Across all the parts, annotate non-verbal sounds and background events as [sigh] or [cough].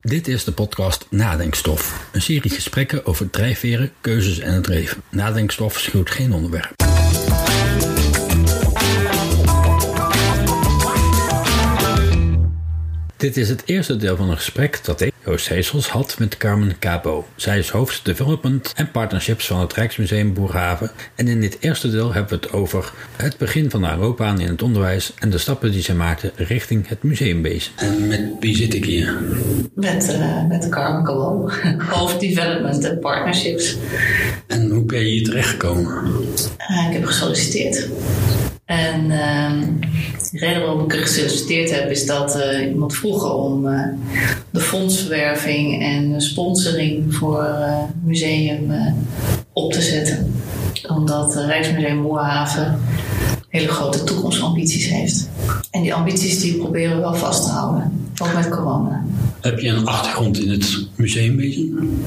Dit is de podcast Nadenkstof. Een serie gesprekken over drijfveren, keuzes en het leven. Nadenkstof schuwt geen onderwerp. Dit is het eerste deel van een gesprek dat ik, Joost Heesels, had met Carmen Capo. Zij is hoofd development en partnerships van het Rijksmuseum Boerhaven. En in dit eerste deel hebben we het over het begin van haar loopbaan in het onderwijs en de stappen die zij maakte richting het museumwezen. En met wie zit ik hier? Met, eh met Carmen Kalal, hoofd development en partnerships. En hoe ben je hier terechtgekomen? Eh, ik heb gesolliciteerd. En ehm, de reden waarom ik gesolliciteerd heb is dat eh, iemand vroeg om eh, de fondsverwerving en sponsoring voor eh, het museum eh, op te zetten. Omdat het Rijksmuseum Moerhaven hele grote toekomstambities heeft. En die ambities die proberen we wel vast te houden, ook met corona. Heb je een achtergrond in het museumwezen?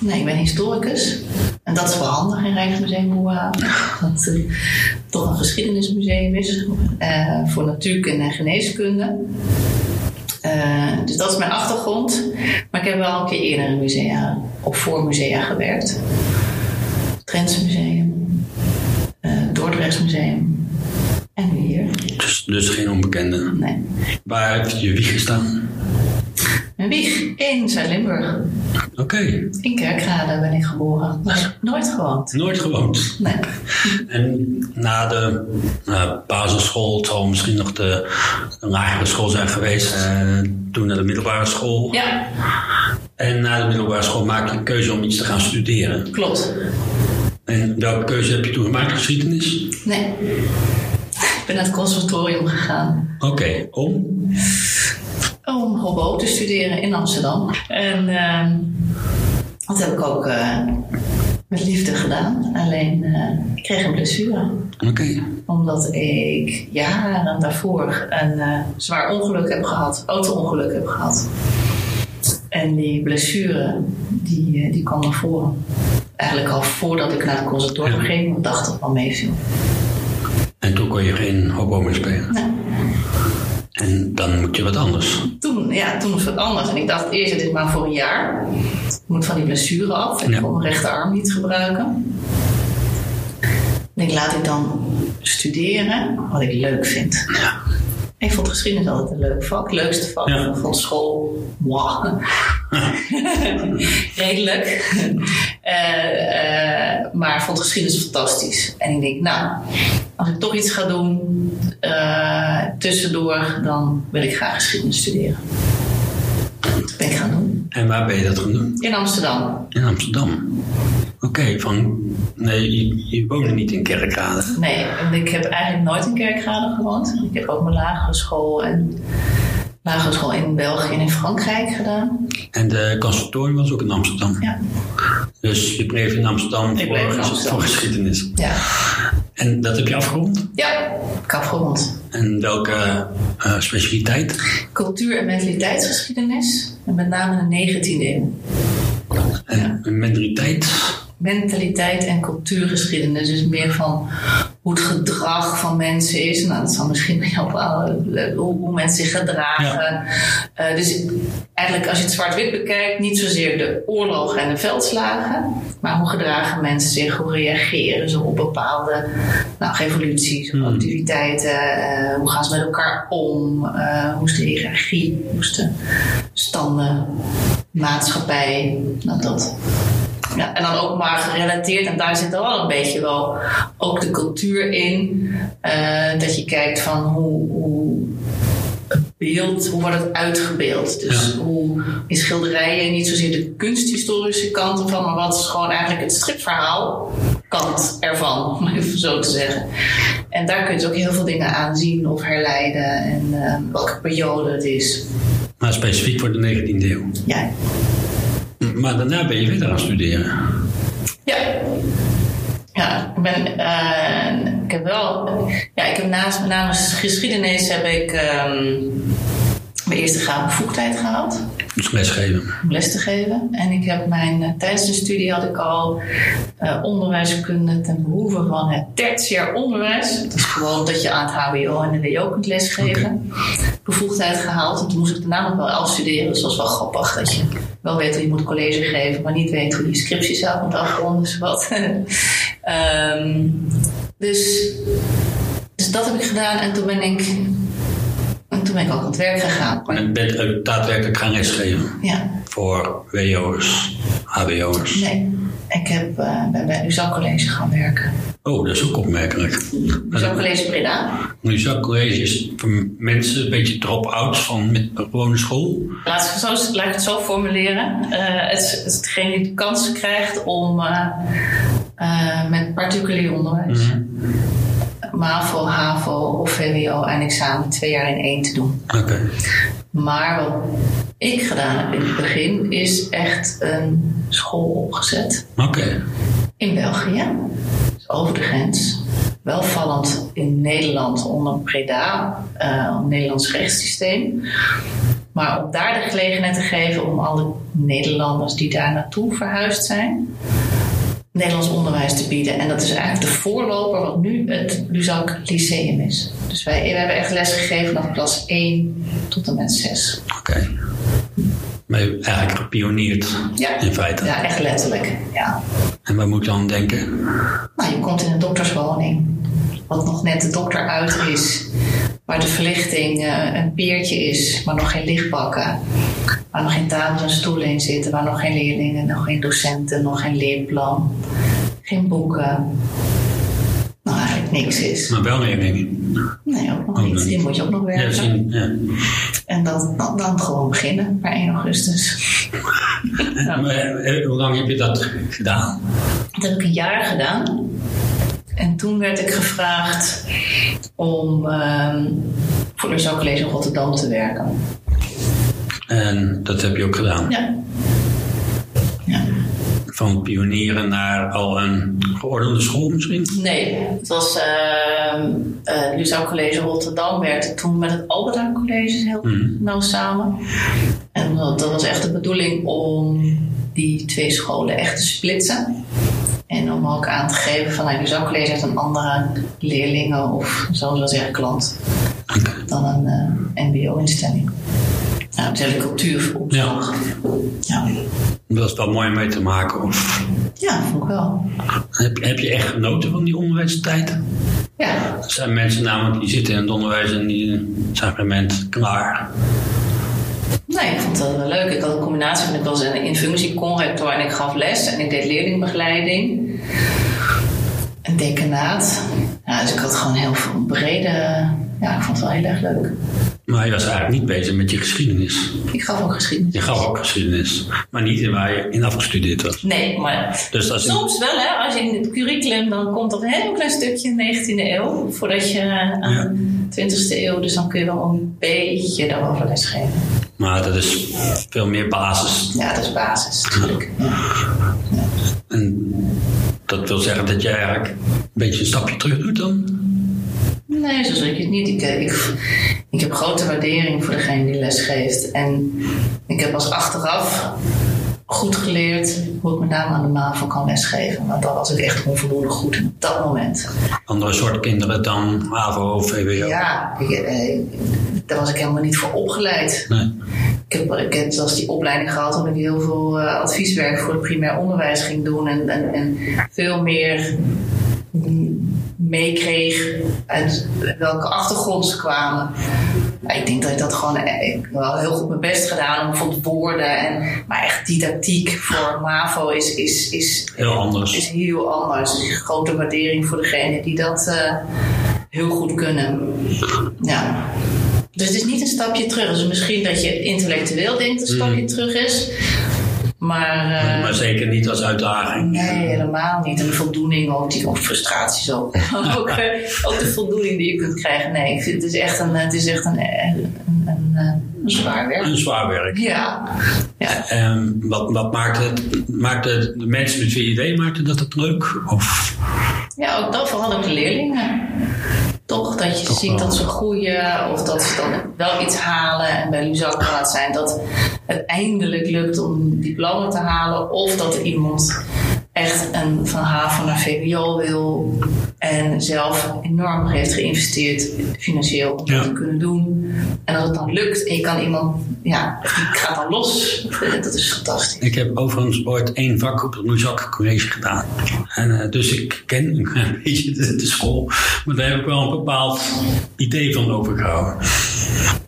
Nee, ik ben historicus. En dat is wel handig in Rijksmuseum Boerhaven. Dat het eh, toch een geschiedenismuseum is. eh, voor natuurkunde en geneeskunde. Eh, dus dat is mijn achtergrond. Maar ik heb wel een keer eerder in musea of voor musea gewerkt. Drents Museum. eh Dordrechts Museum. En nu hier. Dus, dus geen onbekende. Nee. Waar heb je je wieg gestaan? Mijn wieg in Zuid-Limburg. Oké, In Kerkrade ben ik geboren. Maar nooit gewoond. nooit gewoond. Nee. En na de eh, basisschool, het zal misschien nog de lagere school zijn geweest, eh, toen naar de middelbare school. Ja, En na de middelbare school maak je een keuze om iets te gaan studeren. klopt. En welke keuze heb je toen gemaakt? Geschiedenis? Nee. Ik ben naar het conservatorium gegaan Oké, om? om hobo te studeren in Amsterdam. En ehm, dat heb ik ook eh, met liefde gedaan. Alleen eh, ik kreeg een blessure. Oké. Omdat ik jaren daarvoor een eh, zwaar ongeluk heb gehad. Auto-ongeluk heb gehad. En die blessure, die, eh, die kwam naar voren. Eigenlijk al voordat ik naar het conservatorium Ja. ging. Ik dacht dat het wel meeviel. En toen kon je geen hobo meer spelen. Nee. En dan moet je wat anders. toen, ja, toen was het anders. En ik dacht eerst, het is maar voor een jaar. Ik moet van die blessure af. En Ja. ik kon mijn rechterarm niet gebruiken. Ik denk, laat ik dan studeren wat ik leuk vind. Ja. Ik vond geschiedenis altijd een leuk vak. Leukste vak Ja. van school. [laughs] Mwah. Redelijk. Eh, eh, maar ik vond geschiedenis fantastisch. En ik denk, nou, als ik toch iets ga doen eh, tussendoor, dan wil ik graag geschiedenis studeren. Dat ben ik gaan doen. En waar ben je dat gaan doen? In Amsterdam. In Amsterdam. Oké, van. Nee, je, je woonde niet in Kerkrade. Nee, want ik heb eigenlijk nooit in Kerkrade gewoond. Ik heb ook mijn lagere school en lagere school in België en in Frankrijk gedaan. En de conservatorium was ook in Amsterdam. Ja. Dus je bleef in Amsterdam, Ik bleef in voor, Amsterdam. voor geschiedenis. Ja, En dat heb je afgerond. ja ik heb afgerond. En welke eh, specialiteit? Cultuur- en mentaliteitsgeschiedenis. En met name de 19e eeuw. En mentaliteit. Mentaliteit en cultuurgeschiedenis. Dus meer van hoe het gedrag van mensen is. Nou, dat zal misschien bij jou ook wel, eh, hoe, hoe mensen zich gedragen. Eh, dus eigenlijk als je het zwart-wit bekijkt, niet zozeer de oorlogen en de veldslagen. Maar hoe gedragen mensen zich? Hoe reageren ze op bepaalde nou, revoluties, Hmm. activiteiten? eh, hoe gaan ze met elkaar om? Eh, hoe is de hiërarchie? Hoe is de standen, maatschappij, nou dat. Ja, en dan ook maar gerelateerd, en daar zit dan wel een beetje wel ook de cultuur in. eh, dat je kijkt van hoe, hoe het beeld, hoe wordt het uitgebeeld. Dus hoe in schilderijen niet zozeer de kunsthistorische kant ervan, maar wat is gewoon eigenlijk het stripverhaal kant ervan, om even zo te zeggen. En daar kun je dus ook heel veel dingen aan zien of herleiden en eh, welke periode het is. Maar specifiek voor de 19e eeuw. Ja, M- Maar daarna ben je verder gaan studeren. Ja. Ja, ik ben, eh, ik heb wel, ja, ik heb naast, naast geschiedenis heb ik ehm, mijn eerste graadbevoegdheid gehaald Dus lesgeven. om les te geven. En ik heb mijn, eh, tijdens de studie had ik al eh, onderwijskunde ten behoeve van het tertiair onderwijs. Dat is gewoon dat je aan het HBO en de WO kunt lesgeven. Bevoegdheid gehaald. En toen moest ik daarna nog wel afstuderen. Dus dat was wel grappig dat je wel weet hoe je moet college geven, maar niet weet hoe je scriptiezaak moet afronden. Dus wat. [laughs] Ehm, dus, dus dat heb ik gedaan. En toen ben ik, en toen ben ik ook aan het werk gegaan. En je bent ook daadwerkelijk gaan lesgeven Ja. voor WO'ers, HBO'ers. Nee, ik heb, eh, ben bij het Luzak College gaan werken. Oh, dat is ook opmerkelijk. Luzak College Breda. Nu zag college is Dus voor mensen een beetje drop-outs van met een gewone school. Laat, ik het zo, laat ik het zo formuleren. Eh, het, is- het is degene die de kans krijgt om eh, eh, met particulier onderwijs, MAVO, HAVO of VWO en examen twee jaar in één te doen. Oké. Maar wat ik gedaan heb in het begin is echt een school opgezet. Oké. In België, dus over de grens. Welvallend in Nederland onder Breda, eh het Nederlands rechtssysteem. Maar om daar de gelegenheid te geven om alle Nederlanders die daar naartoe verhuisd zijn, Nederlands onderwijs te bieden. En dat is eigenlijk de voorloper wat nu het Luzak Lyceum is. Dus wij, wij hebben echt lesgegeven vanaf klas 1 tot en met 6. Oké. Maar je hebt eigenlijk gepionierd Ja. in feite. Ja, echt letterlijk. Ja. En waar moet ik dan denken? Nou, je komt in een dokterswoning, wat nog net de dokter uit is, waar de verlichting eh, een peertje is, maar nog geen lichtbakken, waar nog geen tafels en stoelen in zitten, waar nog geen leerlingen, nog geen docenten, nog geen leerplan, geen boeken. Nou, eigenlijk niks is. Maar wel leerlingen. Nee, ook nog niet. Hier moet je ook nog Ja, werken. zien. Ja. En dan, dan, dan gewoon beginnen, maar 1 augustus. Maar, eh, hoe lang heb je dat gedaan? Dat heb ik een jaar gedaan. En toen werd ik gevraagd om ehm, voor de Zou College in Rotterdam te werken. En dat heb je ook gedaan. Ja. ja. Van pionieren naar al een geordende school misschien? Nee, het was ehm eh Luzau College Rotterdam werkte toen met het Alberda College heel Mhm. nauw nou samen. En dat, dat was echt de bedoeling om die twee scholen echt te splitsen. En om ook aan te geven van nou, Luzau College heeft een andere leerlingen of zoals we zeggen klant Oké. dan een eh, mbo-instelling. Nou, het hele cultuuropslag. Ja. ja. Dat is wel mooi om mee te maken. Of, vond ik wel. heb, heb je echt genoten van die onderwijstijd? Ja, Er zijn mensen namelijk die zitten in het onderwijs en die zijn op een moment klaar. Nee, ik vond dat wel leuk. Ik had een combinatie van, ik was een in functie conrector en ik gaf les en ik deed leerlingbegeleiding. Een dekenaat. Ja, dus ik had gewoon heel veel brede. Ja, ik vond het wel heel erg leuk. Maar je was eigenlijk niet bezig met je geschiedenis. Ik gaf ook geschiedenis. Je gaf ook geschiedenis, maar niet in waar je in afgestudeerd was. Nee, maar Dus dat is een- soms wel, hè. Als je in het curriculum, dan komt er een heel klein stukje 19e eeuw. Voordat je eh, aan de 20e eeuw, dus dan kun je wel een beetje daarover lesgeven. Maar dat is veel meer basis. Ja, dat is basis, natuurlijk. Ja. En dat wil zeggen dat jij eigenlijk een beetje een stapje terug doet dan? Nee, zo zie ik het niet. Ik, eh, ik, ik heb grote waardering voor degene die lesgeeft. En ik heb als achteraf goed geleerd hoe ik met name aan de MAVO kan lesgeven. Want dan was ik echt onvoldoende goed in op dat moment. Andere soort kinderen dan HAVO of VWO? Ja, ik, eh, daar was ik helemaal niet voor opgeleid. Nee. Ik heb, ik heb zelfs die opleiding gehad omdat ik heel veel eh, advieswerk voor het primair onderwijs ging doen. En, en, en veel meer mm, meekreeg uit welke achtergrond ze kwamen. Maar ik denk dat ik dat gewoon eh, ik heb wel heel goed mijn best gedaan om bijvoorbeeld woorden. En, maar echt didactiek voor MAVO is, is, is, Heel anders. is heel anders. Dus grote waardering voor degenen die dat eh, heel goed kunnen. Ja. Dus het is niet een stapje terug. Dus misschien dat je intellectueel denkt dat een stapje terug is. Maar, eh, Maar zeker niet als uitdaging. nee, helemaal niet. En de voldoening ook, die, of frustraties ook. ook, eh, ook de voldoening die je kunt krijgen. Nee, ik vind, het is echt een, het is echt een, eh, een, een, eh, een zwaar werk. Een zwaar werk. Ja. ja. En wat, wat maakte het? Maakte het- de mensen met wie je deed, maakten dat het leuk? Of Ja, ook dat vooral ook de leerlingen. toch dat je Toch ziet wel. dat ze groeien of dat ze dan wel iets halen. En bij Luzak kan het zijn dat het eindelijk lukt om een diploma te halen of dat er iemand echt een van haven naar VWO wil en zelf enorm heeft geïnvesteerd financieel om Ja. dat te kunnen doen. En als het dan lukt en je kan iemand, ja, die gaat dan los. Dat is fantastisch. Ik heb overigens ooit één vak op het Luzak College gedaan. En, eh, dus ik ken [laughs] een klein beetje de, de school. Maar daar heb ik wel een bepaald idee van overgehouden.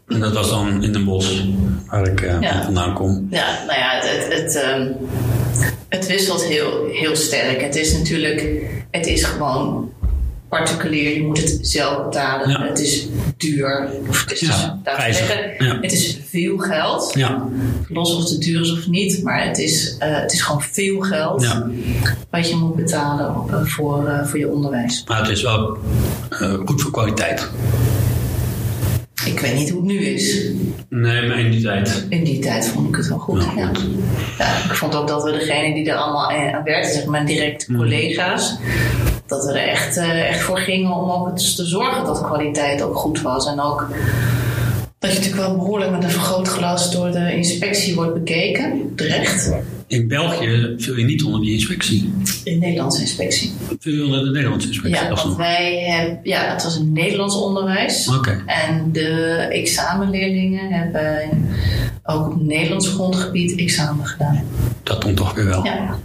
En dat was dan in Den Bosch, waar ik eh, Ja. vandaan kom. Ja, nou ja, het, het, het, ehm, het wisselt heel, heel sterk. Het is natuurlijk, het is gewoon particulier. Je moet het zelf betalen. Ja. Het is duur. Of het is Ja, laten we prijzig. zeggen, Ja. Het is veel geld. Ja, Los of het duur is of niet. Maar het is, eh, het is gewoon veel geld Ja. wat je moet betalen op, eh, voor, eh, voor je onderwijs. maar het is wel eh, goed voor kwaliteit. Ik weet niet hoe het nu is. Nee, maar in die tijd. In die tijd vond ik het wel goed. Ja, Ja, goed. Ja, ik vond ook dat we degene die er allemaal eh, aan werkten, zeg maar direct Mm. collega's, dat we er echt, eh, echt voor gingen om ook eens te zorgen dat de kwaliteit ook goed was. En ook dat je natuurlijk wel behoorlijk met een vergrootglas door de inspectie wordt bekeken, terecht, In België viel je niet onder die inspectie. in Nederlandse inspectie. Viel je onder de Nederlandse inspectie Ja, want alsnog. wij hebben, ja, het was een Nederlands onderwijs. Oké. En de examenleerlingen hebben ook op Nederlands grondgebied examen gedaan. Dat dan toch weer wel. Ja.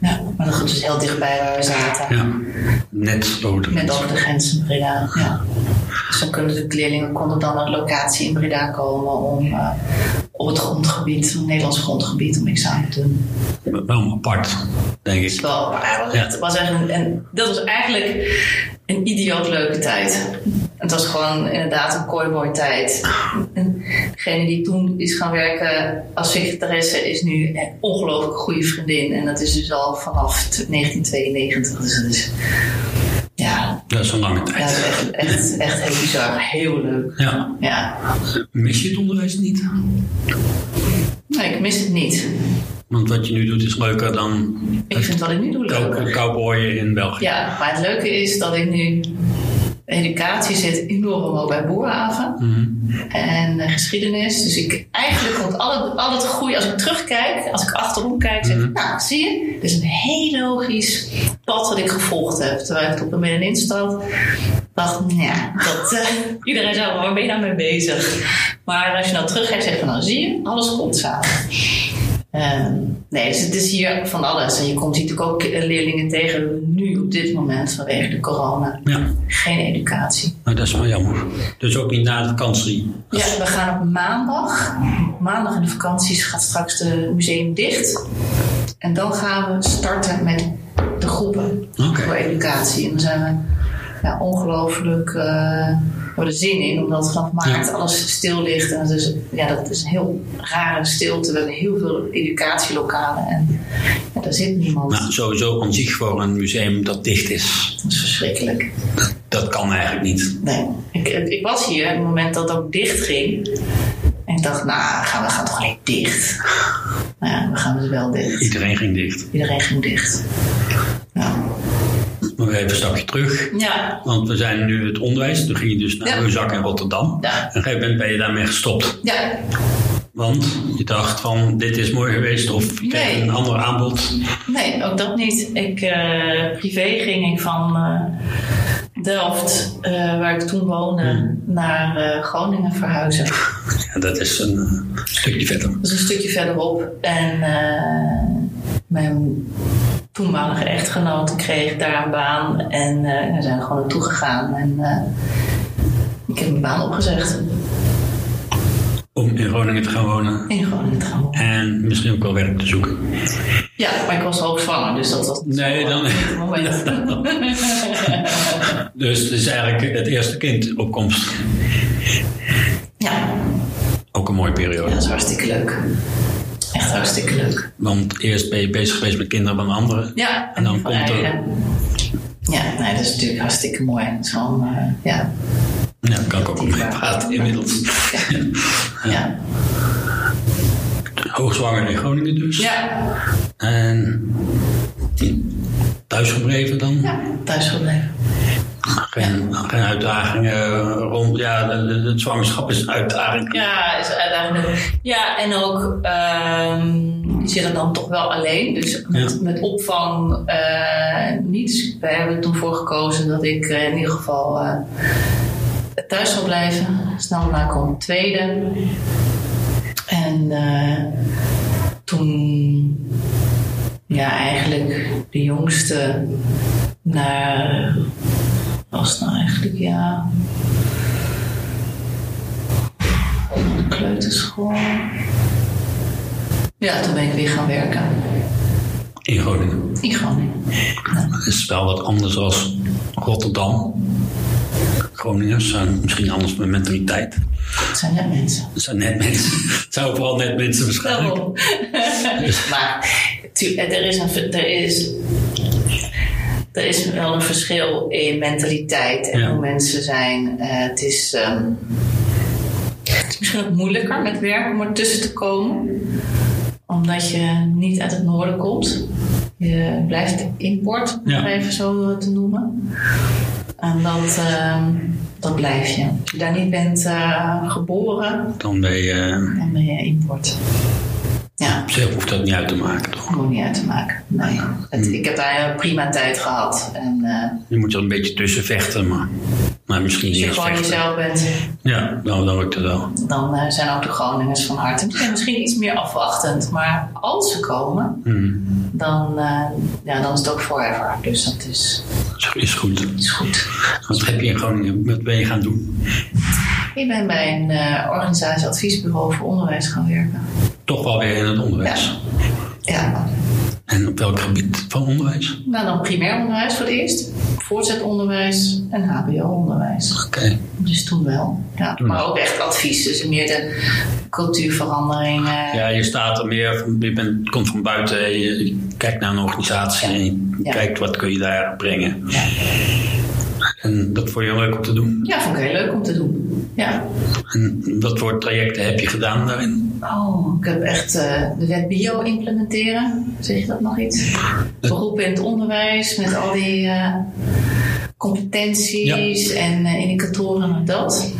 ja, maar dat is heel dichtbij waar we zaten. Ja. Net over de Net grens. over de grens in Breda. Ja. Dus dan kunnen de leerlingen konden dan naar de locatie in Breda komen om eh, op het grondgebied, het Nederlands grondgebied, om examen te doen. Wel apart, denk Dus ik. wel, maar het was echt- het was echt een, en dat was eigenlijk een idioot leuke tijd. Het was gewoon inderdaad een kooiboy tijd. En degene die toen is gaan werken als secretaresse is nu een ongelooflijk goede vriendin. En dat is dus al vanaf t- 1992. Dus dat is, ja, Dat is een lange ja, dat is tijd. echt, echt, echt heel bizar. Heel leuk. Ja. Ja, Mis je het onderwijs niet? nee, ik mis het niet. Want wat je nu doet is leuker dan Ik vind wat ik nu doe leuk. cow- cowboyen in België. Ja, maar het leuke is dat ik nu educatie zit enorm ook bij boerhaven Mhm. en eh, geschiedenis. Dus ik eigenlijk komt al het, al het goede, als ik terugkijk, als ik achterom kijk, zeg ik, nou zie je, dit is een heel logisch pad wat ik gevolgd heb. Terwijl ik het op een middenin stond, dacht, nou ja, dat, eh, [laughs] iedereen zei, waar ben je nou mee bezig? Maar als je nou terugkijkt, zeg je van, nou zie je, alles komt samen. Ehm, nee, dus het is hier van alles. En je komt hier natuurlijk ook eh, leerlingen tegen nu op dit moment vanwege de corona. Ja, Geen educatie. maar dat is wel jammer. Dus ook niet na de vakantie. Ja, Dus we gaan op maandag. Maandag in de vakanties gaat straks de museum dicht. En dan gaan we starten met de groepen Oké. voor educatie. En dan zijn we ja, ongelooflijk eh we hebben er zin in, omdat vanaf maart Ja. alles stil ligt. En dat is, ja, dat is een heel rare stilte. We hebben heel veel educatielokalen en ja, daar zit niemand. Nou, sowieso aan zich voor een museum dat dicht is. Dat is verschrikkelijk. Dat kan eigenlijk niet. Nee, ik, ik, ik was hier op het moment dat het ook dicht ging. En ik dacht, nou, gaan we gaan toch niet dicht. Nou ja, we gaan dus wel dicht. Iedereen ging dicht. Iedereen ging dicht. Ja. Maar we even een stapje terug. Ja. Want we zijn nu het onderwijs. Toen ging je dus naar Ja. Reuzak in Rotterdam. Ja. En op een gegeven moment ben je daarmee gestopt. ja. Want je dacht van dit is mooi geweest. Of je kreeg Nee. een ander aanbod. Nee, ook dat niet. Ik, eh, privé ging ik van eh, Delft, eh, waar ik toen woonde, naar eh, Groningen verhuizen. Ja, dat is een eh, stukje verder. Dat is een stukje verderop. En eh, mijn toenmalige echtgenote kreeg daar een baan. En eh daar zijn we gewoon naartoe gegaan. En eh, ik heb mijn baan opgezegd. Om in Groningen te gaan wonen. In Groningen te gaan wonen. En misschien ook wel werk te zoeken. Ja, maar ik was hoogzwanger, dus dat was niet Nee, zo, dan- eh, het moment. [laughs] Dus het is eigenlijk het eerste kind op komst. ja, Ook een mooie dat periode. is hartstikke leuk. Echt hartstikke leuk. Want eerst ben je bezig geweest met kinderen van anderen. Ja, En dan die van komt er- eigen. Ja, nee, dat is natuurlijk hartstikke mooi. Het is gewoon, eh, ja. Ja, daar kan ik ook mee praten inmiddels. [laughs] Ja. Hoogzwanger in Groningen dus. ja. En thuisgebleven dan. Ja, thuis gebleven. Geen, geen uitdagingen rond. Ja, de, de- de zwangerschap is een uitdaging. Ja, is uitdagend. ook. Ja, en ook ehm, je zit er dan toch wel alleen. Dus met, Ja. met opvang eh, niets. Wij hebben er toen voor gekozen dat ik eh, in ieder geval eh, thuis zou blijven. Snel na kwam het tweede. En eh, toen, ja, eigenlijk de jongste naar. Was het nou eigenlijk, ja, kleuterschool. Ja, toen ben ik weer gaan werken In Groningen. in Groningen. Het is wel wat anders als Rotterdam. Groningers zijn misschien anders met mentaliteit. Het zijn net mensen. Het zijn net mensen. [laughs] Het zijn vooral net mensen waarschijnlijk. Daarom. Dus, maar tu- er is, een, er, is, er is wel een verschil in mentaliteit en Ja. hoe mensen zijn. Eh, het, is, ehm, het is misschien ook moeilijker met werk om ertussen te komen, omdat je niet uit het noorden komt. Je blijft import, om Ja. het even zo eh, te noemen. En dat, ehm, dat blijf je. Als je daar niet bent eh, geboren, Dan ben je... eh, dan ben je import. Ja. Op zich hoeft dat niet uit te maken, toch? gewoon niet uit te maken. Nee. Het- ik heb daar een prima tijd gehad. En eh Je moet er een beetje tussen vechten, maar, maar misschien als niet je eens gewoon vechten. jezelf bent, Ja, dan, dan lukt het wel. dan eh, zijn ook de Groningers van harte. Die zijn misschien iets meer afwachtend, maar als ze komen, Hmm. dan, eh, ja, dan is het ook forever. Dus dat is, Is- Is goed. is goed. Wat heb je in Groningen? Wat ben je gaan doen? Ik ben bij een eh organisatieadviesbureau voor onderwijs gaan werken. Toch wel weer in het onderwijs. Ja. Ja, En op welk gebied van onderwijs? nou dan primair onderwijs voor het eerst, voortzetonderwijs en HBO-onderwijs. Oké. Dus toen wel. Ja, Toen maar wel. ook echt advies. Dus meer de cultuurverandering. eh, Ja, je staat er meer, van- je bent, komt van buiten, en je, je kijkt naar een organisatie en je Ja. kijkt wat kun je daar brengen. Ja. En dat vond je leuk om te doen. Ja, vond ik heel leuk om te doen. Ja. En wat voor trajecten heb je gedaan daarin? Oh, ik heb echt eh, de wet bio implementeren. Zeg je dat nog iets? Beroep in het onderwijs met al die eh, competenties en eh, indicatoren en dat.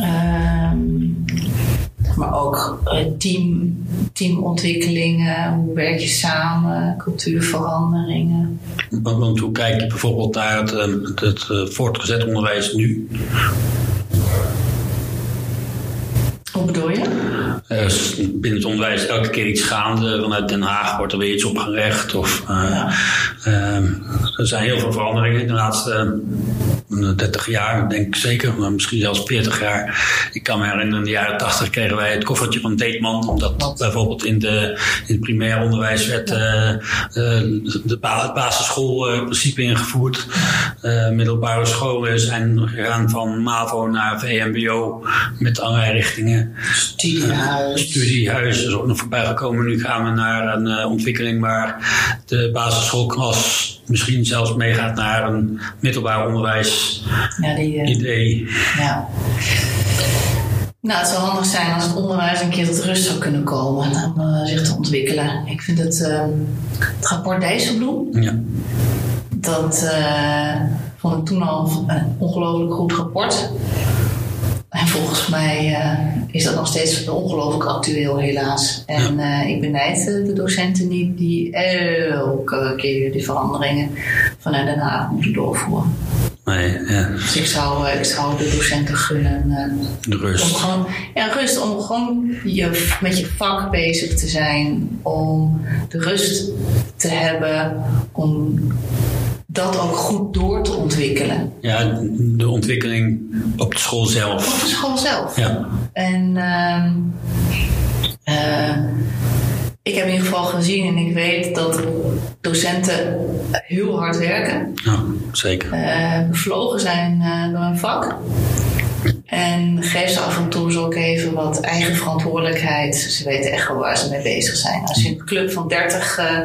Ehm, maar ook eh, team, teamontwikkelingen, hoe werk je samen, cultuurveranderingen. Want, want hoe kijk je bijvoorbeeld naar het, eh, het, eh, voortgezet onderwijs nu? Hoe bedoel je? Eh, s- binnen het onderwijs elke keer iets gaande. Vanuit Den Haag wordt er weer iets opgerecht. Of, eh, ehm, er zijn heel veel veranderingen in de laatste eh, 30 jaar, denk ik zeker. Maar misschien zelfs 40 jaar. Ik kan me herinneren, in de jaren 80 kregen wij het koffertje van Deetman. Omdat Klopt. bijvoorbeeld in, de, in het primair onderwijs werd eh, eh, de ba- het basisschoolprincipe ingevoerd. Eh, middelbare scholen zijn gegaan van MAVO naar VMBO met allerlei richtingen. Studiehuis. Studiehuis is dus ook nog voorbij gekomen. Nu gaan we naar een eh, ontwikkeling waar de basisschoolklas misschien zelfs meegaat naar een middelbaar onderwijs Ja, die, eh, idee. Ja. Nou, het zou handig zijn als het onderwijs een keer tot rust zou kunnen komen om eh, zich te ontwikkelen. Ik vind het, ehm, het rapport Dijsselbloem, Ja. dat eh, vond ik toen al een ongelooflijk goed rapport. En volgens mij eh, is dat nog steeds ongelooflijk actueel, helaas. En eh, ik benijd eh, de docenten niet die elke keer weer die veranderingen vanuit Den Haag moeten doorvoeren. Nee, ja. Dus ik zou, eh, ik zou de docenten gunnen. eh, de om rust. gewoon, ja, rust, om gewoon je, met je vak bezig te zijn. Om de rust te hebben. Om dat ook goed door te ontwikkelen. Ja, de ontwikkeling op de school Op zelf. de school zelf. Ja. En ehm, eh, ik heb in ieder geval gezien en ik weet dat docenten heel hard werken. ja, nou, zeker. eh, bevlogen zijn eh, door hun vak. En geef ze af en toe zo ook even wat eigen verantwoordelijkheid. Ze weten echt wel waar ze mee bezig zijn. Als je een club van 30 eh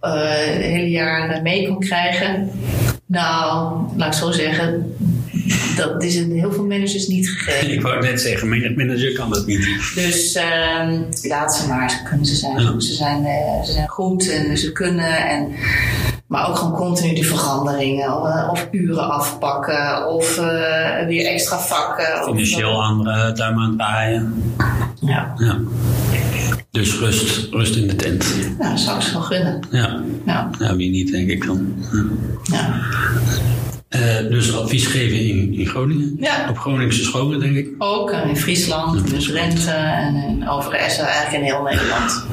eh, het hele jaar eh, mee kon krijgen. Nou, laat ik zo zeggen. Dat is in heel veel managers niet gegeven. Ik wou net zeggen, mijn manager kan dat niet. Dus ehm, laat ze maar, ze kunnen ze zijn. Ja. Ze, zijn eh, ze zijn goed en ze kunnen. En Maar ook gewoon continu die veranderingen. Of, of uren afpakken. Of eh, weer extra vakken. of- Financieel aan eh, duim aan het draaien. Ja, Ja. Dus rust, rust in de tent. nou, dat zou ik ze wel gunnen. Ja. Ja, ja, wie niet denk ik dan. Ja. ja. Eh, dus advies geven in, in Groningen. Ja. Op Groningse scholen denk ik. Ook eh, in Friesland, dus Drenthe en in Overijssel. Eigenlijk in heel Nederland.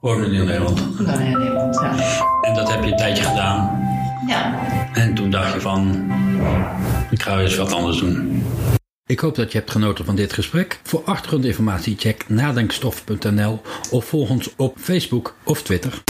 Gewoon in heel Nederland. Dan in heel Nederland, ja. En dat heb je een tijdje gedaan. Ja, En toen dacht je van, ik ga eens wat anders doen. Ik hoop dat je hebt genoten van dit gesprek. Voor achtergrondinformatie check nadenkstof.nl of volg ons op Facebook of Twitter.